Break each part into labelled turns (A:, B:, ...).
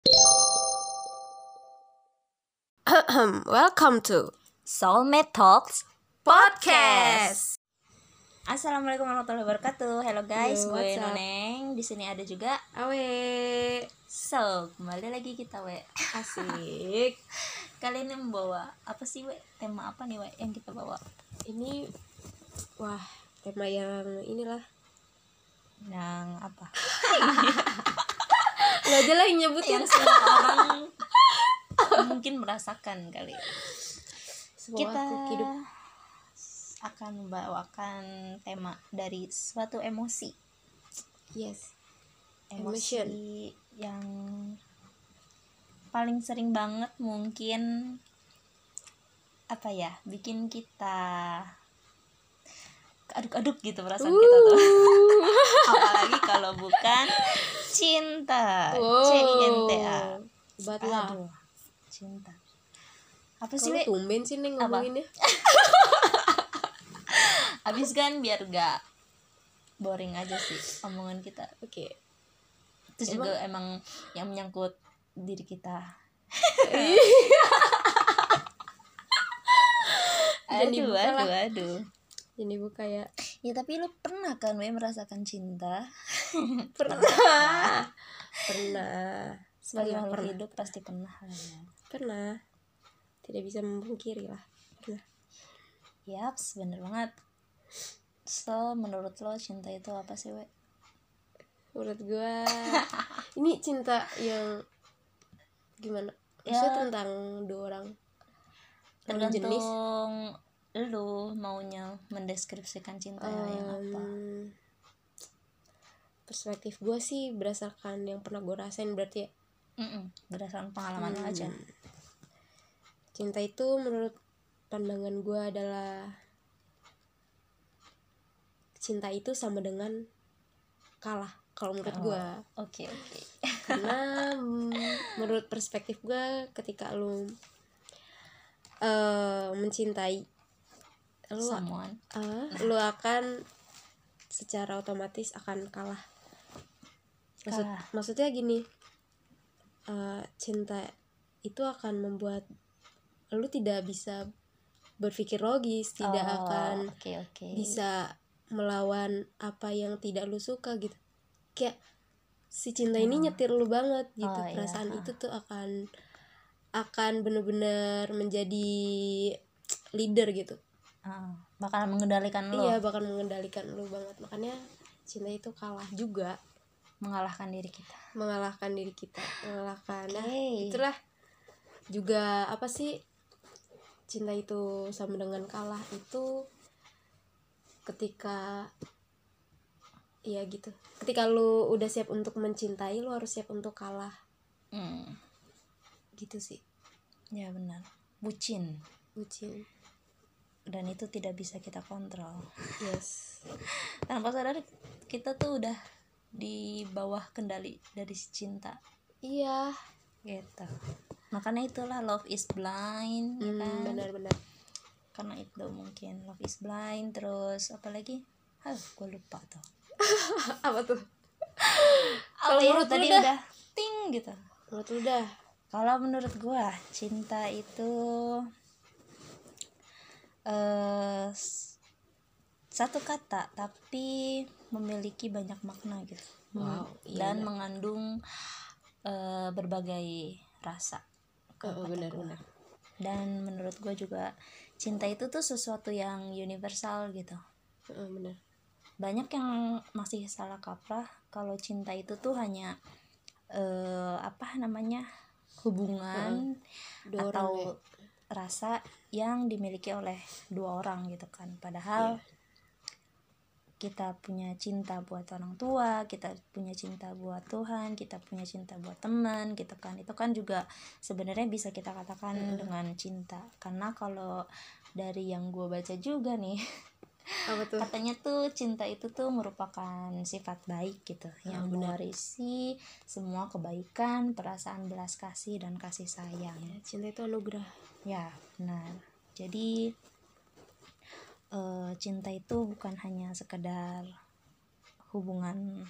A: Welcome to
B: Soulmate Talks
A: Podcast.
B: Assalamualaikum warahmatullahi wabarakatuh. Hello guys,
A: Yo, what's
B: gue
A: up?
B: Noneng. Di sini ada juga.
A: Awe,
B: So, kembali lagi kita we.
A: asik.
B: Kali ini membawa apa sih we? Tema apa nih we yang kita bawa?
A: Ini wah, tema yang inilah.
B: Yang apa?
A: Lo aja lah yang nyebutin
B: yang semua orang mungkin merasakan kali.
A: semua
B: kita
A: aku hidup.
B: akan membawakan tema dari suatu emosi.
A: Yes.
B: emosi
A: Emotion.
B: yang paling sering banget mungkin apa ya bikin kita aduk-aduk gitu perasaan kita tuh apalagi kalau bukan cinta C I N T A
A: Buat lah.
B: aduh cinta apa sih
A: Kalau
B: we
A: tumben sih Neng
B: Apa?
A: ngomonginnya.
B: abis kan biar gak boring aja sih omongan kita
A: Oke.
B: terus juga emang yang menyangkut diri kita
A: Jangan
B: aduh
A: dibuka lah.
B: aduh aduh
A: Ini buka ya.
B: ya tapi lu pernah kan we merasakan cinta
A: Pernah. Pernah.
B: sebagai
A: Pernah,
B: makhluk
A: pernah.
B: hidup pasti pernah lah ya
A: Pernah. Tidak bisa memungkiri lah. Pernah.
B: yaps bener banget so menurut lo cinta itu apa sih we
A: menurut gua ini cinta yang gimana maksudnya
B: Ya.
A: tentang dua orang Lawan jenis
B: tergantung lu maunya mendeskripsikan cinta yang apa
A: Em, Hmm, perspektif gua sih berdasarkan yang pernah gua rasain berarti ya
B: Mm-mm, berdasarkan pengalaman lo
A: Hmm.
B: aja
A: cinta itu menurut pandangan gua adalah cinta itu sama dengan kalah kalau menurut
B: Oh.
A: gua
B: oke oke
A: karena mm, menurut perspektif gue ketika lu eh mencintai lu
B: someone
A: eh, lu akan secara otomatis akan kalah Maksud-
B: Kalah.
A: maksudnya gini eh, cinta itu akan membuat lu tidak bisa berpikir logis tidak
B: Oh,
A: akan
B: oke oke
A: bisa melawan apa yang tidak lu suka gitu kayak si cinta ini nyetir lu banget gitu
B: Oh, iya.
A: perasaan itu tuh akan akan bener-bener menjadi leader gitu
B: Ah, bakalan mengendalikan lo
A: iya bakal mengendalikan lu banget makanya cinta itu kalah juga
B: mengalahkan diri kita
A: mengalahkan diri kita mengalahkan nah
B: Oke.
A: itulah juga apa sih cinta itu sama dengan kalah itu ketika ya gitu ketika lu udah siap untuk mencintai lu harus siap untuk kalah
B: Hmm,
A: gitu sih
B: ya benar bucin
A: bucin
B: dan itu tidak bisa kita kontrol
A: yes
B: tanpa sadar kita tuh udah di bawah kendali dari si cinta
A: iya
B: gitu makanya itulah love is blind ya kan?
A: Hmm, benar-benar
B: karena itu mungkin love is blind terus apalagi Hah, gue lupa tuh
A: apa tuh
B: apa
A: Kalau
B: ya
A: menurut lu
B: tadi
A: dah.
B: udah ting gitu
A: menurut lu dah
B: kalau menurut gua cinta itu eh s- satu kata tapi memiliki banyak makna gitu
A: Wow, iya
B: dan
A: benar.
B: mengandung eh, berbagai rasa
A: oh, benar-benar
B: dan menurut gua juga cinta itu tuh sesuatu yang universal gitu
A: Oh, benar
B: banyak yang masih salah kaprah kalau cinta itu tuh hanya eh, apa namanya hubungan
A: Dua orang ya?
B: atau rasa yang dimiliki oleh dua orang gitu kan padahal
A: Iya.
B: kita punya cinta buat orang tua kita punya cinta buat Tuhan kita punya cinta buat teman gitu kan itu kan juga sebenarnya bisa kita katakan dengan cinta karena kalau dari yang gue baca juga nih
A: apa tuh
B: katanya tuh cinta itu tuh merupakan sifat baik gitu
A: Ah,
B: yang mewarisi semua kebaikan perasaan belas kasih dan kasih sayang
A: cinta itu anugerah
B: ya benar jadi eh, cinta itu bukan hanya sekedar hubungan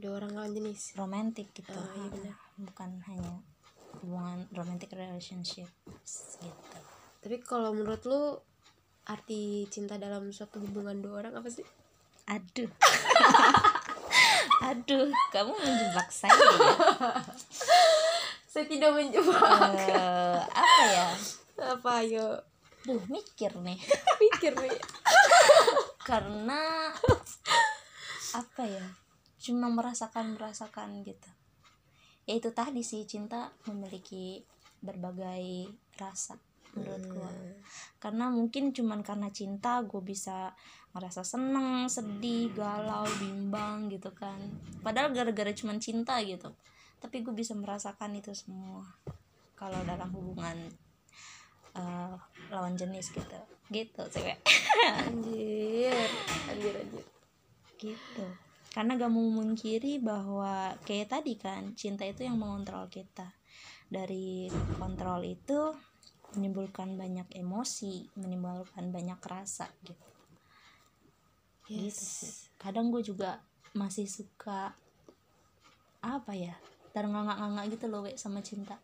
A: dua orang lawan jenis
B: romantis gitu
A: Oh, iya benar.
B: bukan hanya hubungan romantic relationship gitu
A: Tapi kalau menurut lu arti cinta dalam suatu hubungan dua orang apa sih?
B: aduh aduh kamu menjebak saya ya.
A: Saya tidak menjebak.
B: Eh, apa ya
A: apa ayo
B: duh mikir nih
A: pikir nih.
B: karena apa ya cuma merasakan merasakan gitu ya itu tadi sih cinta memiliki berbagai rasa menurut gua karena mungkin cuman karena cinta gue bisa ngerasa seneng sedih galau bimbang gitu kan padahal gara-gara cuman cinta gitu tapi gue bisa merasakan itu semua kalau dalam hubungan eh, lawan jenis gitu gitu cewek
A: Anjir, anjir anjir.
B: gitu karena gak mau memungkiri bahwa kayak tadi kan cinta itu yang mengontrol kita dari kontrol itu menimbulkan banyak emosi menimbulkan banyak rasa gitu
A: Iya,
B: Gitu sih. kadang gue juga masih suka apa ya ternganga-nganga gitu loh kayak sama cinta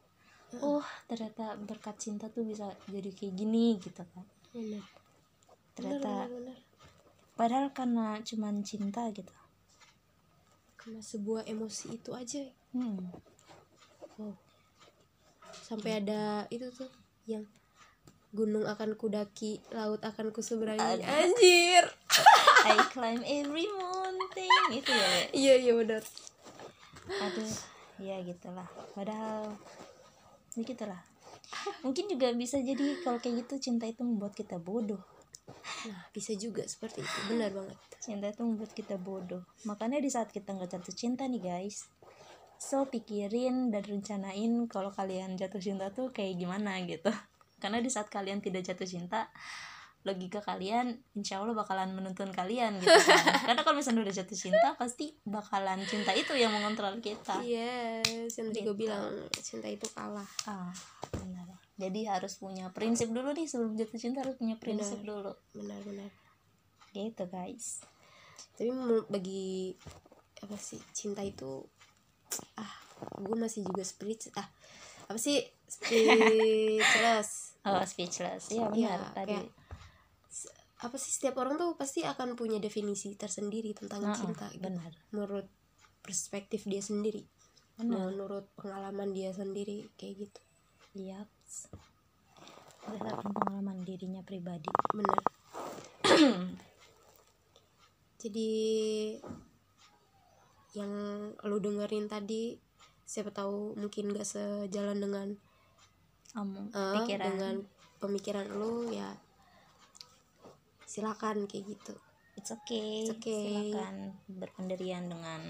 B: oh ternyata berkat cinta tuh bisa jadi kayak gini gitu kan
A: Benar.
B: ternyata
A: benar.
B: padahal karena cuman cinta gitu
A: Karena sebuah emosi itu aja
B: Hmm.
A: sampai ada itu tuh yang gunung akan kudaki, laut akan kuseberangi.
B: Aduh.
A: Anjir.
B: I climb every mountain itu ya Le?
A: Iya iya benar.
B: aduh ya gitulah padahal ya gitulah mungkin juga bisa jadi kalau kayak gitu cinta itu membuat kita bodoh
A: Nah, bisa juga seperti itu. Benar banget.
B: cinta itu membuat kita bodoh makanya di saat kita nggak jatuh cinta nih guys so pikirin dan rencanain kalau kalian jatuh cinta tuh kayak gimana gitu karena di saat kalian tidak jatuh cinta logika kalian insya Allah bakalan menuntun kalian gitu kan. karena kalau misalnya udah jatuh cinta pasti bakalan cinta itu yang mengontrol kita
A: Yes, yang tadi gue
B: Gitu.
A: bilang cinta itu kalah.
B: ah benar jadi harus punya prinsip dulu nih sebelum jatuh cinta harus punya prinsip dulu
A: Benar benar.
B: gitu guys
A: Tapi menurut- bagi apa sih cinta itu ah gue masih juga spirit ah apa sih speechless
B: oh speechless
A: Iya,
B: ya benar tadi
A: kayak s- apa sih setiap orang tuh pasti akan punya definisi tersendiri tentang
B: Nah,
A: cinta gitu.
B: benar
A: menurut perspektif dia sendiri
B: benar
A: menurut pengalaman dia sendiri kayak gitu
B: Yap. Berdasarkan pengalaman dirinya pribadi.
A: benar jadi yang lu dengerin tadi siapa tahu mungkin gak sejalan dengan
B: Kamu
A: eh,
B: pikiran.
A: dengan pemikiran lu ya silakan kayak gitu
B: It's okay.
A: It's okay.
B: Silakan berpendirian dengan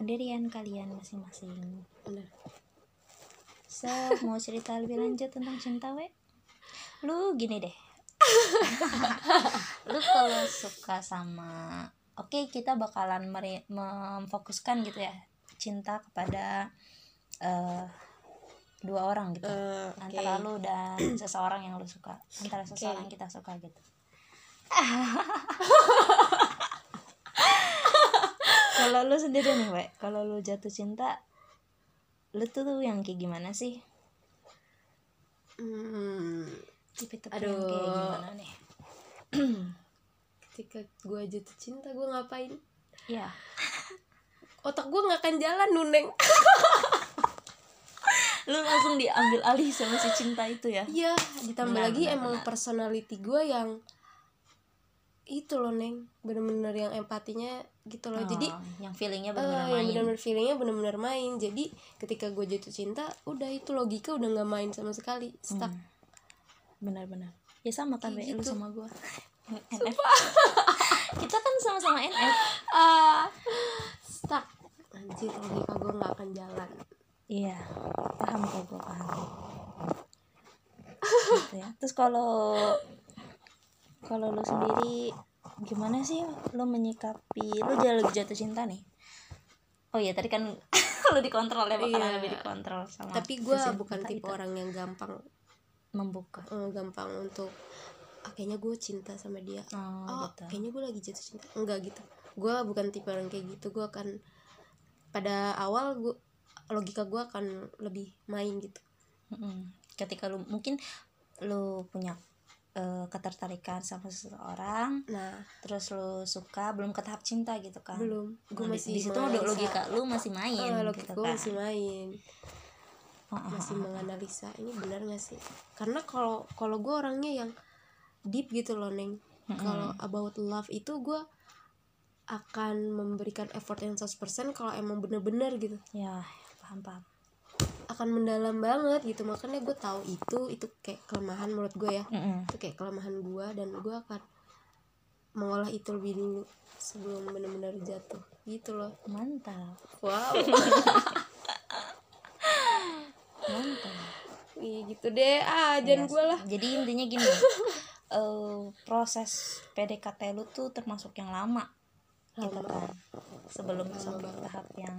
B: pendirian kalian masing-masing.
A: benar
B: So, mau cerita lebih lanjut tentang cinta, we? Lu gini deh. Lu kalau suka sama Oke, kita bakalan mere- memfokuskan gitu ya cinta kepada eh, dua orang gitu.
A: Eh,
B: antara
A: oke.
B: lu dan seseorang yang lu suka antara seseorang yang kita suka gitu kalau lu sendiri nih we kalau lu jatuh cinta lu tuh, tuh yang kayak gimana sih
A: Hmm,
B: tipe-tipe yang kayak
A: Aduh.
B: gimana nih
A: ketika gue jatuh cinta gue ngapain
B: ya
A: otak gue nggak akan jalan nuneng
B: lu langsung diambil alih sama si cinta itu ya
A: Iya, ditambah
B: Benar,
A: lagi
B: benar,
A: emang
B: benar.
A: personality gue yang itu loh neng, bener-bener yang empatinya gitu loh. Jadi
B: Oh, yang feelingnya
A: eh, yang
B: benar-benar main
A: bener-bener feelingnya bener-bener main. Jadi ketika gue jatuh cinta, udah itu logika udah nggak main sama sekali, stuck.
B: Hmm. benar-benar ya sama kan
A: Kayak
B: Be, lu
A: gitu.
B: sama gua NF kita kan sama-sama NF
A: Ah, stuck. Anjir, logika gue nggak akan jalan.
B: Iya, paham kok gue paham. gitu ya. Terus kalau kalau lu sendiri gimana sih lu menyikapi lu jangan lagi jatuh cinta nih? Oh iya tadi kan lu dikontrol ya bakalan
A: Iya.
B: lebih dikontrol sama.
A: Tapi gue
B: si
A: bukan
B: cinta
A: tipe
B: itu.
A: orang yang gampang,
B: membuka.
A: eh, gampang untuk. ah, kayaknya gue cinta sama dia.
B: Oh,
A: oh
B: gitu.
A: kayaknya gue lagi jatuh cinta enggak gitu gue bukan tipe orang kayak gitu gue akan pada awal gue logika gue akan lebih main gitu
B: Mm-mm. ketika lu mungkin lu punya eh, ketertarikan sama seseorang
A: nah
B: terus lu suka belum ke tahap cinta gitu kan
A: belum gue
B: Nah, di-
A: masih
B: di situ
A: menganalisa.
B: logika lu masih main
A: Eh, logika
B: gitu
A: gue
B: kan
A: masih main
B: Oh, oh,
A: masih
B: oh.
A: menganalisa ini benar gak sih karena kalau kalau gue orangnya yang deep gitu loh neng
B: Mm-mm.
A: kalau about love itu gue akan memberikan effort yang 100% kalau emang bener-bener gitu
B: ya paham paham
A: akan mendalam banget gitu makanya gue tahu itu itu kayak kelemahan menurut gue ya
B: Mm-mm.
A: itu kayak kelemahan gue dan gue akan mengolah itu lebih dulu sebelum bener-bener jatuh gitu loh
B: mantap
A: wow
B: mantap
A: Ih, gitu deh ah jangan
B: Iya,
A: gue lah
B: jadi intinya gini eh, proses PDKT lu tuh termasuk yang lama gitu
A: Lama.
B: kan sebelum
A: Lama
B: sampai
A: banget.
B: tahap yang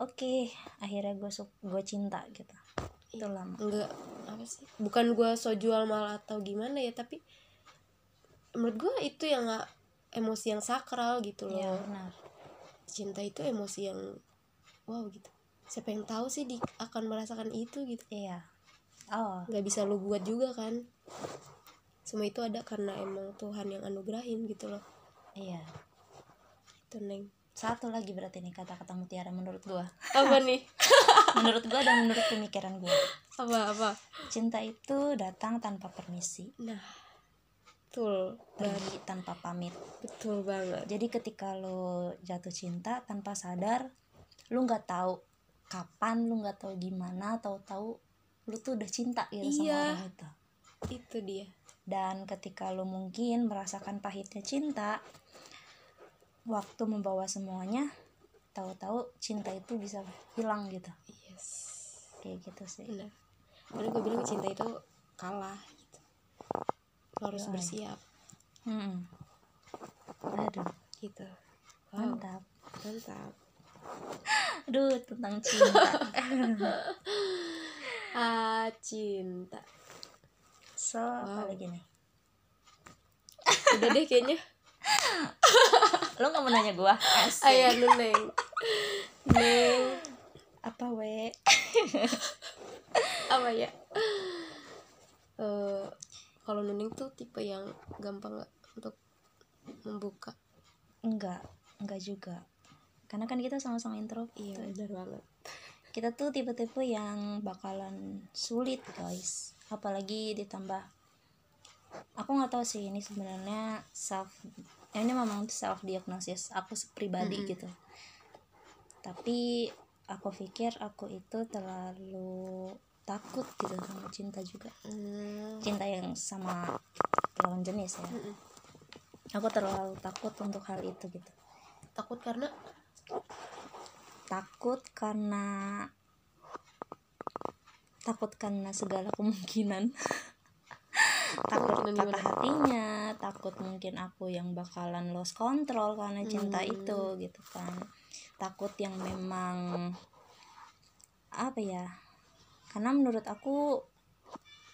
B: oke akhirnya gue gue cinta gitu itu lama
A: enggak apa sih bukan gue so jual mal atau gimana ya tapi menurut gue itu yang nggak- emosi yang sakral gitu loh
B: ya benar
A: cinta itu emosi yang wow gitu siapa yang tahu sih di, akan merasakan itu gitu
B: iya oh
A: nggak bisa lu buat juga kan semua itu ada karena emang Tuhan yang anugerahin gitu loh
B: iya
A: itu neng
B: satu lagi berarti nih kata-kata mutiara menurut gue
A: apa nih
B: menurut gue dan menurut pemikiran gue
A: apa apa
B: cinta itu datang tanpa permisi
A: nah betul banget
B: pergi tanpa pamit
A: betul banget
B: jadi ketika lo jatuh cinta tanpa sadar lo nggak tahu kapan lo nggak tahu gimana tahu-tahu lo tuh udah cinta gitu sama
A: Iya.
B: orang itu
A: itu dia
B: dan ketika lo mungkin merasakan pahitnya cinta waktu membawa semuanya tahu-tahu cinta itu bisa hilang gitu
A: yes
B: kayak gitu sih
A: Benar. Karena gue bilang cinta itu kalah gitu. Lo harus
B: Iya.
A: bersiap
B: Mm-mm. aduh
A: gitu. Wow,
B: mantap
A: mantap.
B: aduh tentang cinta
A: Ah, cinta.
B: so apa
A: Wow.
B: lagi nih
A: Udah deh kayaknya.
B: lo nggak mau nanya gua Asik.
A: Ayah lu neng. Neng.
B: apa we
A: Apa ya? Eh, kalau Nuning tuh tipe yang gampang nggak untuk membuka.
B: enggak enggak juga karena kan kita sama-sama intro
A: Iya, benar banget.
B: kita tuh tipe-tipe yang bakalan sulit guys apalagi ditambah aku nggak tahu sih ini sebenarnya self ya ini memang self diagnosis aku pribadi
A: Mm-mm.
B: gitu tapi aku pikir aku itu terlalu takut gitu sama cinta juga
A: Hmm.
B: cinta yang sama lawan jenis ya
A: Mm-mm.
B: aku terlalu takut untuk hal itu gitu
A: Takut karena
B: takut karena takut karena segala kemungkinan takut
A: Kemungkinan
B: patah
A: gimana?
B: hatinya takut mungkin aku yang bakalan lost control karena cinta
A: Hmm.
B: itu gitu kan takut yang memang apa ya karena menurut aku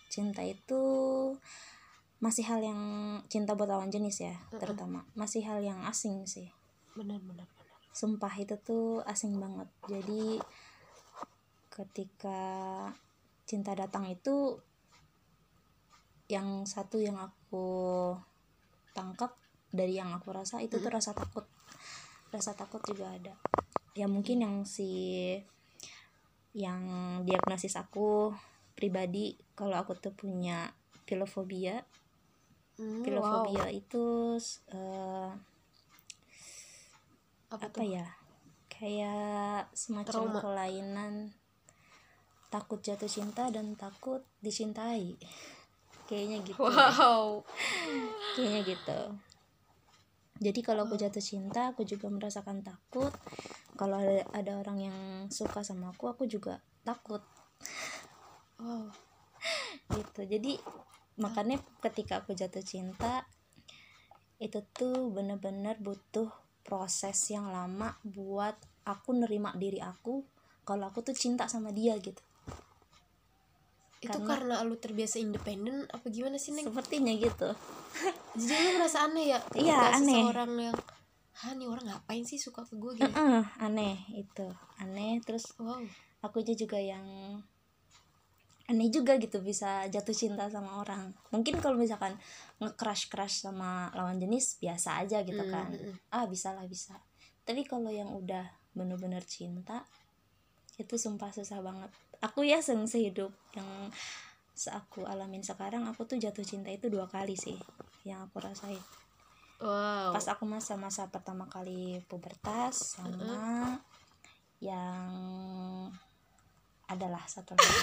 B: cinta itu masih hal yang cinta buat lawan jenis ya
A: Mm-mm.
B: terutama masih hal yang asing sih
A: benar-benar benar.
B: sumpah itu tuh asing banget jadi ketika cinta datang itu yang satu yang aku tangkap dari yang aku rasa itu tuh rasa takut rasa takut juga ada ya mungkin yang si yang diagnosis aku pribadi kalau aku tuh punya filofobia
A: Hmm, wow.
B: filofobia itu eh,
A: Apa,
B: apa
A: tuh?
B: ya kayak semacam
A: Trauma.
B: kelainan takut jatuh cinta dan takut dicintai kayaknya gitu
A: Wow.
B: kayaknya gitu jadi kalau aku jatuh cinta aku juga merasakan takut kalau ada, ada orang yang suka sama aku aku juga takut
A: Wow.
B: gitu jadi makanya ketika aku jatuh cinta itu tuh bener-bener butuh proses yang lama buat aku nerima diri aku kalau aku tuh cinta sama dia gitu
A: itu karena, lu terbiasa independen apa gimana sih neng
B: sepertinya gitu
A: jadi lu merasa aneh ya
B: Iya,
A: ketika
B: aneh.
A: seseorang yang Hah nih orang ngapain sih suka ke gue gitu
B: Mm-mm, aneh itu aneh terus
A: Wow
B: aku aja juga yang aneh juga gitu bisa jatuh cinta sama orang mungkin kalau misalkan nge-crush crush sama lawan jenis biasa aja gitu
A: Mm,
B: kan
A: mm, mm.
B: ah bisa lah bisa tapi kalau yang udah bener-bener cinta itu sumpah susah banget aku ya se sehidup yang se- aku alamin sekarang aku tuh jatuh cinta itu dua kali sih yang aku rasain
A: Wow
B: pas aku masa-masa pertama kali pubertas sama yang adalah satu lagi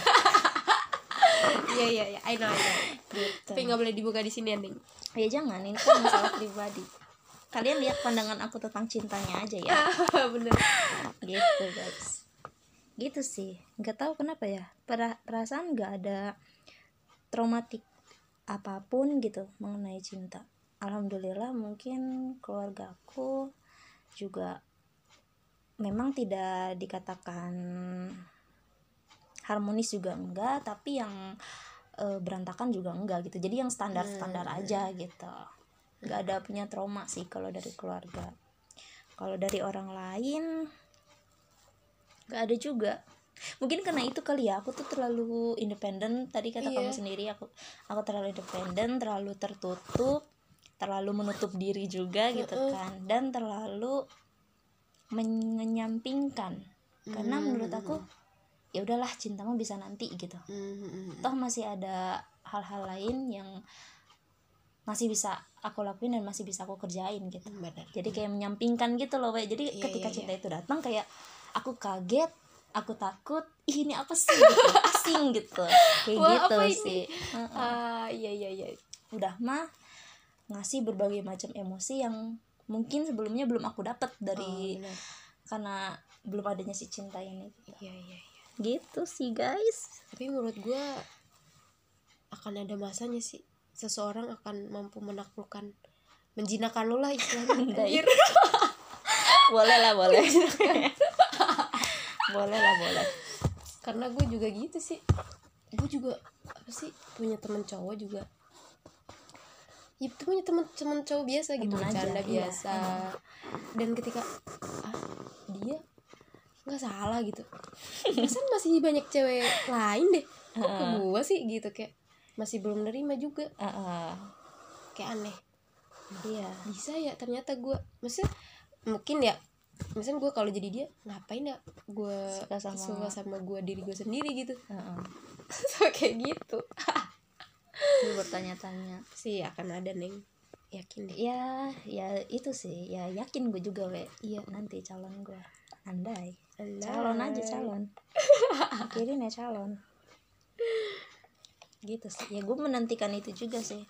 A: Iya iya iya I know I know
B: gitu.
A: Tapi gak boleh dibuka di sini ya Neng
B: ya jangan ini kan masalah pribadi kalian lihat pandangan aku tentang cintanya aja ya
A: Bener
B: gitu guys gitu sih nggak tahu kenapa ya Pera- perasaan nggak ada traumatik apapun gitu mengenai cinta alhamdulillah mungkin keluarga aku juga memang tidak dikatakan harmonis juga enggak tapi yang eh, berantakan juga enggak gitu jadi yang standar standar aja gitu nggak ada punya trauma sih kalau dari keluarga kalau dari orang lain nggak ada juga mungkin karena itu kali ya aku tuh terlalu independen tadi kata
A: Iya.
B: kamu sendiri aku aku terlalu independen terlalu tertutup terlalu menutup diri juga gitu kan dan terlalu menyampingkan karena
A: Hmm.
B: menurut aku ya udahlah cintamu bisa nanti gitu toh masih ada hal-hal lain yang masih bisa aku lakuin dan masih bisa aku kerjain gitu
A: Bener
B: jadi kayak menyampingkan gitu loh Wei. jadi
A: Iya,
B: ketika
A: iya,
B: cinta itu datang kayak aku kaget aku takut Ih, ini apa sih gitu. asing gitu kayak
A: Wah,
B: gitu
A: apa ini?
B: sih Heeh.
A: Ah iya iya iya
B: udah mah ngasih berbagai macam emosi yang mungkin sebelumnya belum aku dapat dari
A: bener.
B: karena belum adanya si cinta ini
A: Iya iya iya
B: gitu sih guys
A: Tapi menurut gue Akan ada masanya sih Seseorang akan mampu menaklukkan Menjinakkan lo lah istilahnya Iya
B: Enggak,
A: Anjir.
B: boleh lah boleh boleh lah boleh
A: karena gue juga gitu sih gue juga apa sih punya teman cowok juga ya itu punya teman teman cowok biasa gitu
B: Temen aja,
A: bercanda
B: iya,
A: biasa dan ketika ah dia nggak salah gitu perasaan masih banyak cewek lain deh kok ke gue sih gitu kayak masih belum nerima juga
B: Heeh.
A: kayak aneh
B: iya
A: bisa ya ternyata gue maksudnya mungkin ya misalnya gue kalau jadi dia ngapain ya gue
B: Suka sama-
A: suka sama gue diri gue sendiri gitu
B: Heeh.
A: so kayak gitu
B: Lu bertanya-tanya
A: sih akan ada neng yakin deh
B: ya ya itu sih ya yakin gue juga we
A: Iya.
B: nanti calon gue andai
A: Andai.
B: calon aja calon kirim ya calon gitu sih ya gue menantikan itu juga sih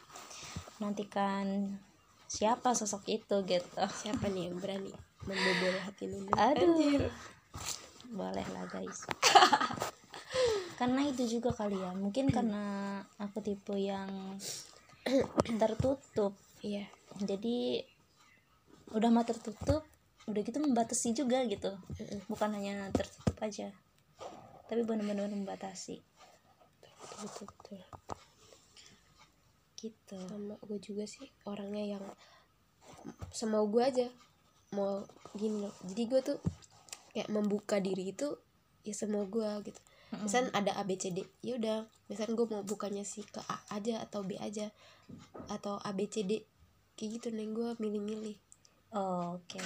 B: menantikan siapa sosok itu gitu
A: siapa nih yang berani membobol hati Nunda
B: Aduh. boleh lah guys karena itu juga kali ya mungkin karena aku tipe yang tertutup
A: iya
B: jadi udah mah tertutup udah gitu membatasi juga gitu bukan hanya tertutup aja tapi benar-benar membatasi
A: betul betul, betul.
B: gitu
A: sama gue juga sih orangnya yang semau gue aja mau gini loh jadi gue tuh kayak membuka diri itu ya semau gue gitu misal ada A B C D ya udah misal gue mau bukanya sih ke A aja atau B aja atau A B C D kayak gitu neng gue milih-milih
B: oke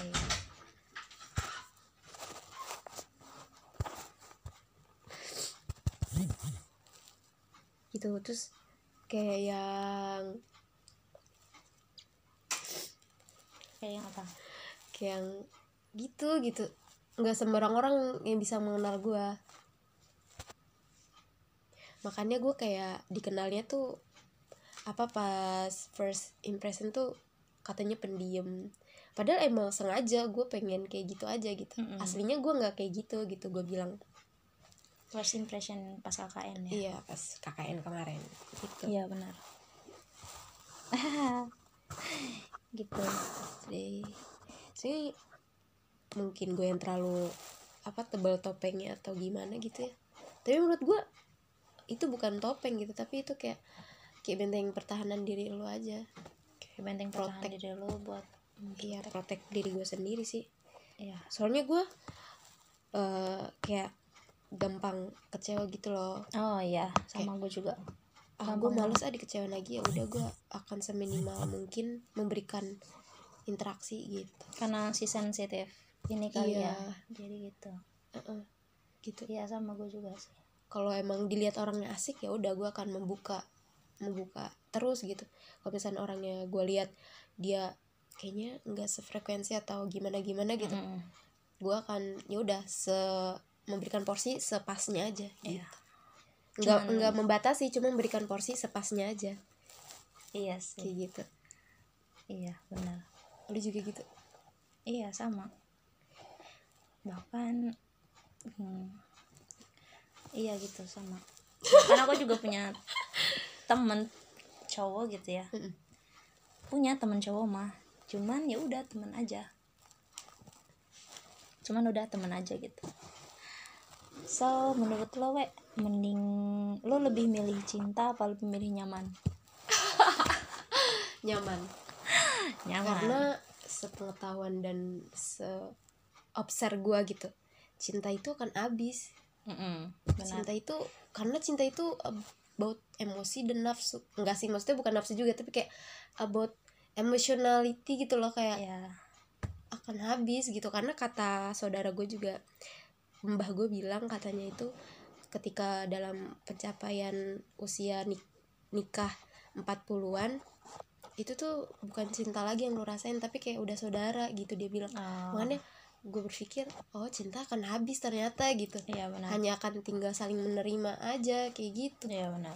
A: gitu terus kayak yang
B: kayak yang apa
A: kayak yang gitu gitu nggak sembarang orang yang bisa mengenal gue makanya gue kayak dikenalnya tuh apa pas first impression tuh katanya pendiam padahal emang sengaja gue pengen kayak gitu aja gitu
B: Mm-mm.
A: aslinya gue nggak kayak gitu gitu gue bilang
B: first impression pas KKN ya
A: iya pas KKN kemarin gitu
B: iya benar gitu
A: Jadi, sih mungkin gue yang terlalu apa tebal topengnya atau gimana gitu ya. Tapi menurut gue itu bukan topeng gitu, tapi itu kayak kayak benteng pertahanan diri lo aja.
B: kayak benteng pertahanan
A: Protect.
B: diri lo buat
A: iya protek diri gue sendiri sih
B: Iya.
A: soalnya gue eh kayak gampang kecewa gitu loh
B: Oh iya, sama gue juga.
A: ah gue males ah dikecewain lagi ya udah gue akan seminimal mungkin memberikan interaksi gitu
B: Karena si sensitif ini kali
A: Iya.
B: ya. Jadi gitu.
A: Heeh, gitu
B: Iya sama gue juga sih.
A: kalau emang dilihat orangnya asik ya udah gue akan membuka membuka terus gitu kalau misalnya orangnya gue lihat dia kayaknya nggak sefrekuensi atau gimana gimana gitu
B: Mm-mm.
A: gue akan ya udah se memberikan porsi sepasnya aja
B: Iya.
A: gitu. nggak
B: Cuman-
A: nggak membatasi cuma memberikan porsi sepasnya aja
B: Iya
A: kayak
B: sih.
A: gitu
B: Iya benar.
A: lu juga gitu
B: Iya sama. Bahkan hmm, iya gitu sama. Karena aku juga punya temen cowok gitu ya.
A: Mm-mm.
B: Punya temen cowok mah. Cuman ya udah temen aja. Cuman udah temen aja gitu. So, menurut lo, we, mending lo lebih milih cinta apa lebih milih nyaman?
A: nyaman
B: Nyaman.
A: karena sepengetahuan dan se obser gue gitu cinta itu akan habis
B: Mm-mm, benar.
A: cinta Nah, itu karena cinta itu about emosi dan nafsu enggak sih maksudnya bukan nafsu juga tapi kayak about emotionality gitu loh kayak
B: Iya.
A: akan habis gitu karena kata saudara gue juga mbah gue bilang katanya itu ketika dalam pencapaian usia nik- nikah 40-an itu tuh bukan cinta lagi yang lo rasain tapi kayak udah saudara gitu dia bilang
B: Oh,
A: makanya gue berpikir oh cinta akan habis ternyata gitu
B: Iya benar.
A: hanya akan tinggal saling menerima aja kayak gitu
B: Iya benar.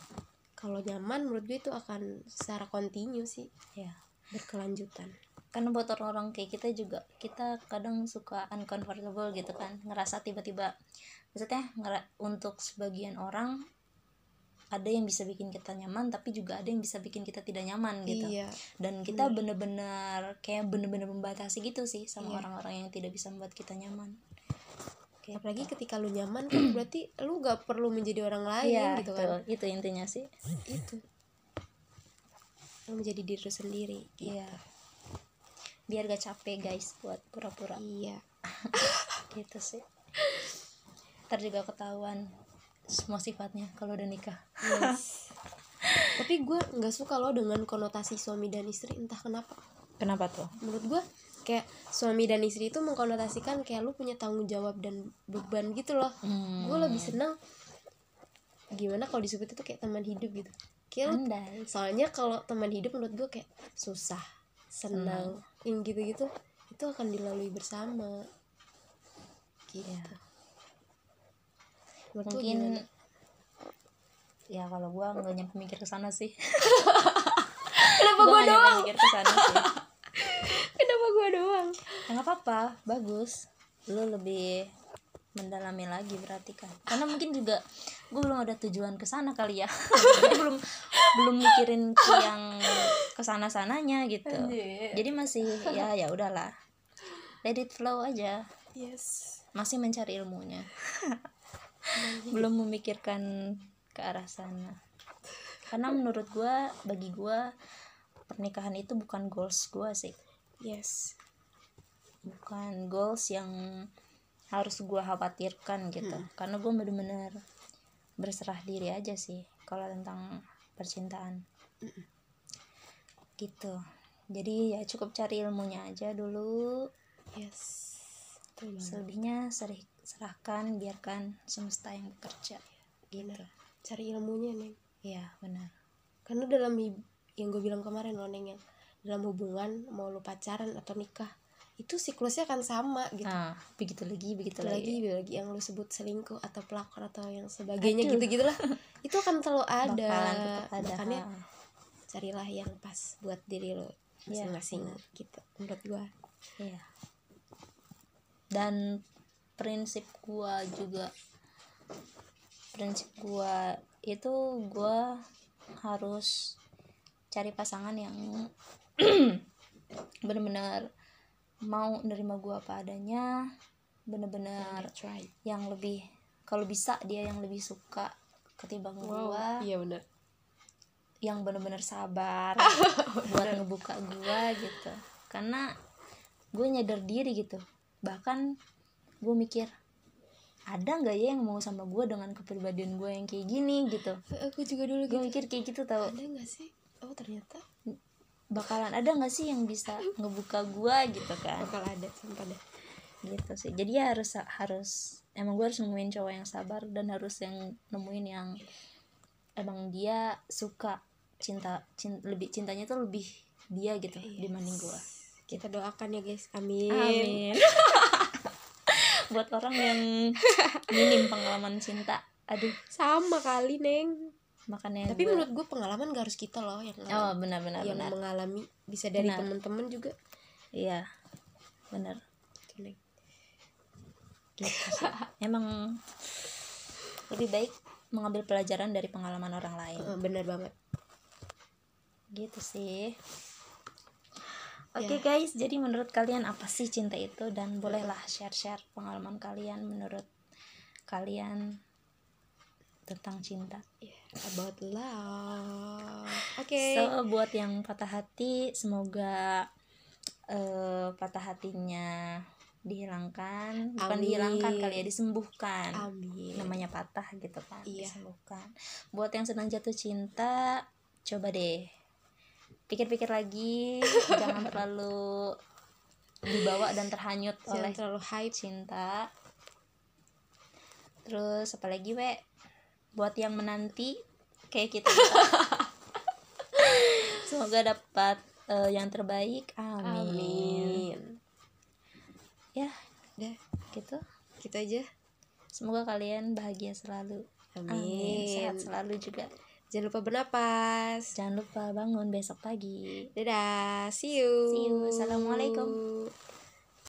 A: kalau nyaman menurut gue itu akan secara kontinu sih
B: Iya.
A: berkelanjutan
B: Karena buat orang-orang kan kayak kita juga kita kadang suka uncomfortable gitu kan, ngerasa tiba-tiba maksudnya ngera- untuk sebagian orang ada yang bisa bikin kita nyaman tapi juga ada yang bisa bikin kita tidak nyaman gitu.
A: iya
B: Dan kita bener-bener kayak bener-bener membatasi gitu sih sama
A: Iya.
B: orang-orang yang tidak bisa membuat kita nyaman. Kayak
A: apalagi ketika lu nyaman kan berarti lu gak perlu menjadi orang lain
B: Iya,
A: gitu
B: gitu
A: kan
B: itu intinya sih.
A: itu lu menjadi diri lu sendiri gitu.
B: Iya. Biar gak capek guys buat pura-pura.
A: iya
B: gitu sih ntar juga ketahuan semua sifatnya kalau udah nikah
A: Yes. tapi gue nggak suka lo dengan konotasi suami dan istri entah kenapa
B: kenapa tuh
A: menurut gue kayak suami dan istri itu mengkonotasikan kayak lu punya tanggung jawab dan beban gitu loh
B: Hmm.
A: gue lebih seneng gimana kalau disebut itu kayak teman hidup gitu kayak lu-
B: andai
A: soalnya kalau teman hidup menurut gue kayak susah senang yang gitu-gitu itu akan dilalui bersama gitu
B: Ya.
A: Menurut lu
B: mungkin
A: gimana?
B: ya kalau gua nggak nyampe mikir ke sana sih
A: kenapa gue
B: Gua nggak nyampe
A: doang
B: mikir ke sana sih
A: kenapa gue doang
B: ya, nggak apa-apa bagus lu lebih mendalami lagi berarti kan karena mungkin juga gue belum ada tujuan ke sana kali ya Jadi belum belum mikirin ke yang ke sana sananya gitu
A: Anjir.
B: jadi masih ya ya udahlah let it flow aja
A: yes
B: masih mencari ilmunya belum memikirkan ke arah sana karena menurut gua bagi gua pernikahan itu bukan goals gua sih
A: yes
B: bukan goals yang harus gua khawatirkan gitu karena gua bener-bener berserah diri aja sih kalau tentang percintaan gitu jadi ya cukup cari ilmunya aja dulu
A: yes Betul banget.
B: selebihnya serih- serahkan biarkan semesta yang bekerja gitu
A: Bener. cari ilmunya neng
B: iya benar
A: karena dalam hib- yang gue bilang kemarin loh neng yang dalam hubungan mau lu pacaran atau nikah itu siklusnya akan sama gitu
B: ah begitu lagi begitu lagi,
A: lagi lagi yang lu sebut selingkuh atau pelakor atau yang sebagainya
B: Aduh.
A: gitu gitulah itu akan selalu ada
B: Bakalan tetap ada
A: makanya
B: ha.
A: carilah yang pas buat diri lo
B: Iya,
A: masing-masing gitu menurut gua
B: Iya. Dan prinsip gua juga prinsip gua itu gua harus cari pasangan yang benar-benar mau nerima gua apa adanya, benar-benar
A: try
B: yang lebih kalau bisa dia yang lebih suka ketimbang gua
A: iya benar
B: yang bener-bener sabar buat ngebuka gua gitu karena gue nyadar diri gitu bahkan gue mikir ada nggak ya yang mau sama gue dengan kepribadian gue yang kayak gini gitu
A: aku juga dulu
B: gue
A: gitu
B: mikir kayak gitu tau
A: ada nggak sih oh ternyata
B: bakalan ada nggak sih yang bisa ngebuka gue gitu kan
A: bakal ada sumpah deh
B: gitu sih jadi ya harus harus emang gue harus nemuin cowok yang sabar dan harus yang nemuin yang emang dia suka cinta, cin- lebih cintanya tuh lebih dia gitu
A: Iya.
B: dibanding Gitu. gue
A: kita doakan ya guys amin,
B: amin buat orang yang minim pengalaman cinta aduh
A: sama kali neng
B: makanya
A: tapi
B: gua-
A: menurut Iya, gue pengalaman gak harus kita loh yang
B: oh
A: ngalami.
B: benar-benar
A: yang
B: benar
A: mengalami bisa dari
B: Benar.
A: teman-teman juga
B: iya benar
A: Gitu, Neng.
B: gitu sih. emang lebih baik mengambil pelajaran dari pengalaman orang lain
A: Eh, benar banget
B: gitu sih Oke
A: Ya.
B: guys, jadi menurut kalian apa sih cinta itu dan bolehlah share-share pengalaman kalian menurut kalian tentang cinta.
A: about love oke
B: Iya. So buat yang patah hati, semoga eh, patah hatinya dihilangkan, bukan
A: Amin.
B: dihilangkan kali ya disembuhkan.
A: amin
B: Namanya patah gitu kan,
A: Iya.
B: disembuhkan. Buat yang sedang jatuh cinta, coba deh pikir-pikir lagi, jangan terlalu dibawa dan terhanyut
A: jangan
B: oleh
A: terlalu hype
B: cinta. Terus apalagi we buat yang menanti kayak kita. Semoga dapat eh, yang terbaik. Amin.
A: amin
B: Ya,
A: udah
B: gitu.
A: gitu aja
B: Semoga kalian bahagia selalu. Amin.
A: amin
B: Sehat selalu juga.
A: jangan lupa bernapas
B: Jangan lupa bangun besok pagi.
A: dadah see you
B: See you. Assalamualaikum.